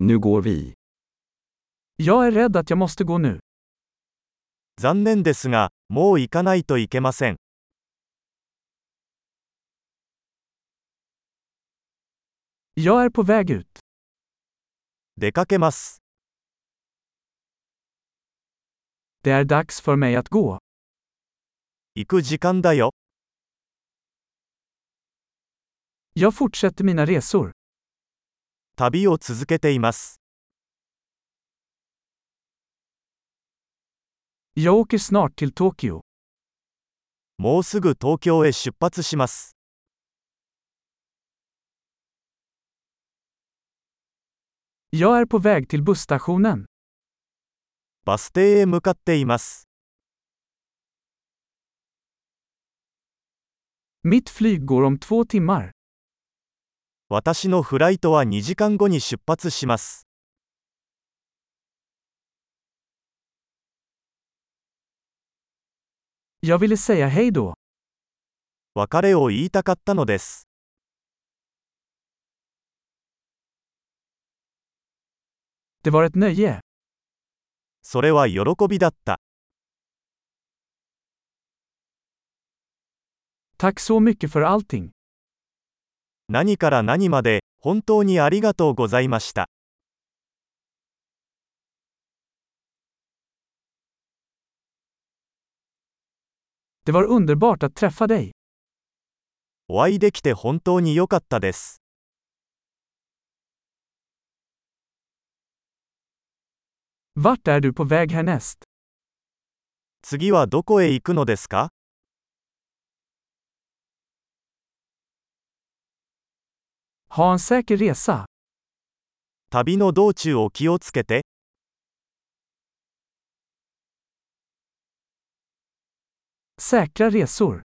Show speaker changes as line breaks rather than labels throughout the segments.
Nu går vi.
Jag är rädd att jag måste gå nu.
残念ですが、もう行かないといけません。
Jag är på väg ut.
出かけます。
Det är dags för mig att gå.
行く時間だよ。
Jag fortsätter mina resor.
旅を続けています。
Jag åker snart till Tokyo.
もうすぐ東京へ出発します。
Jag är på väg till busstationen.
バス停へ向かっています。
Mitt flyg går om två timmar.
私のフライトは2時間後に出発します。
Jag ville säga hej då.
別れを言いたかったのです。
Det var ett nöje.
それは喜びだった。
Tack så mycket för allting.
何から何まで、本当にありがとうございました。
Det var underbart att träffa dig.
お会いできて本当に良かったです。
Vart är du på väg härnäst?
次はどこへ行くのですか
Ha en säker resa.
旅の道中を気をつけて、
Säkra resor.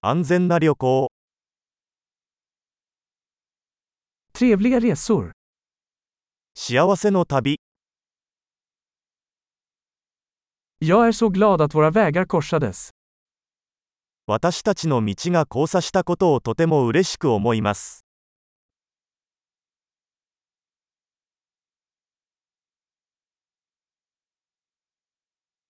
安全な旅行を、
Trevliga resor.
幸せの旅、
Jag är så glad att våra vägar korsades.
私たちの道が交差したことをとても嬉しく思います。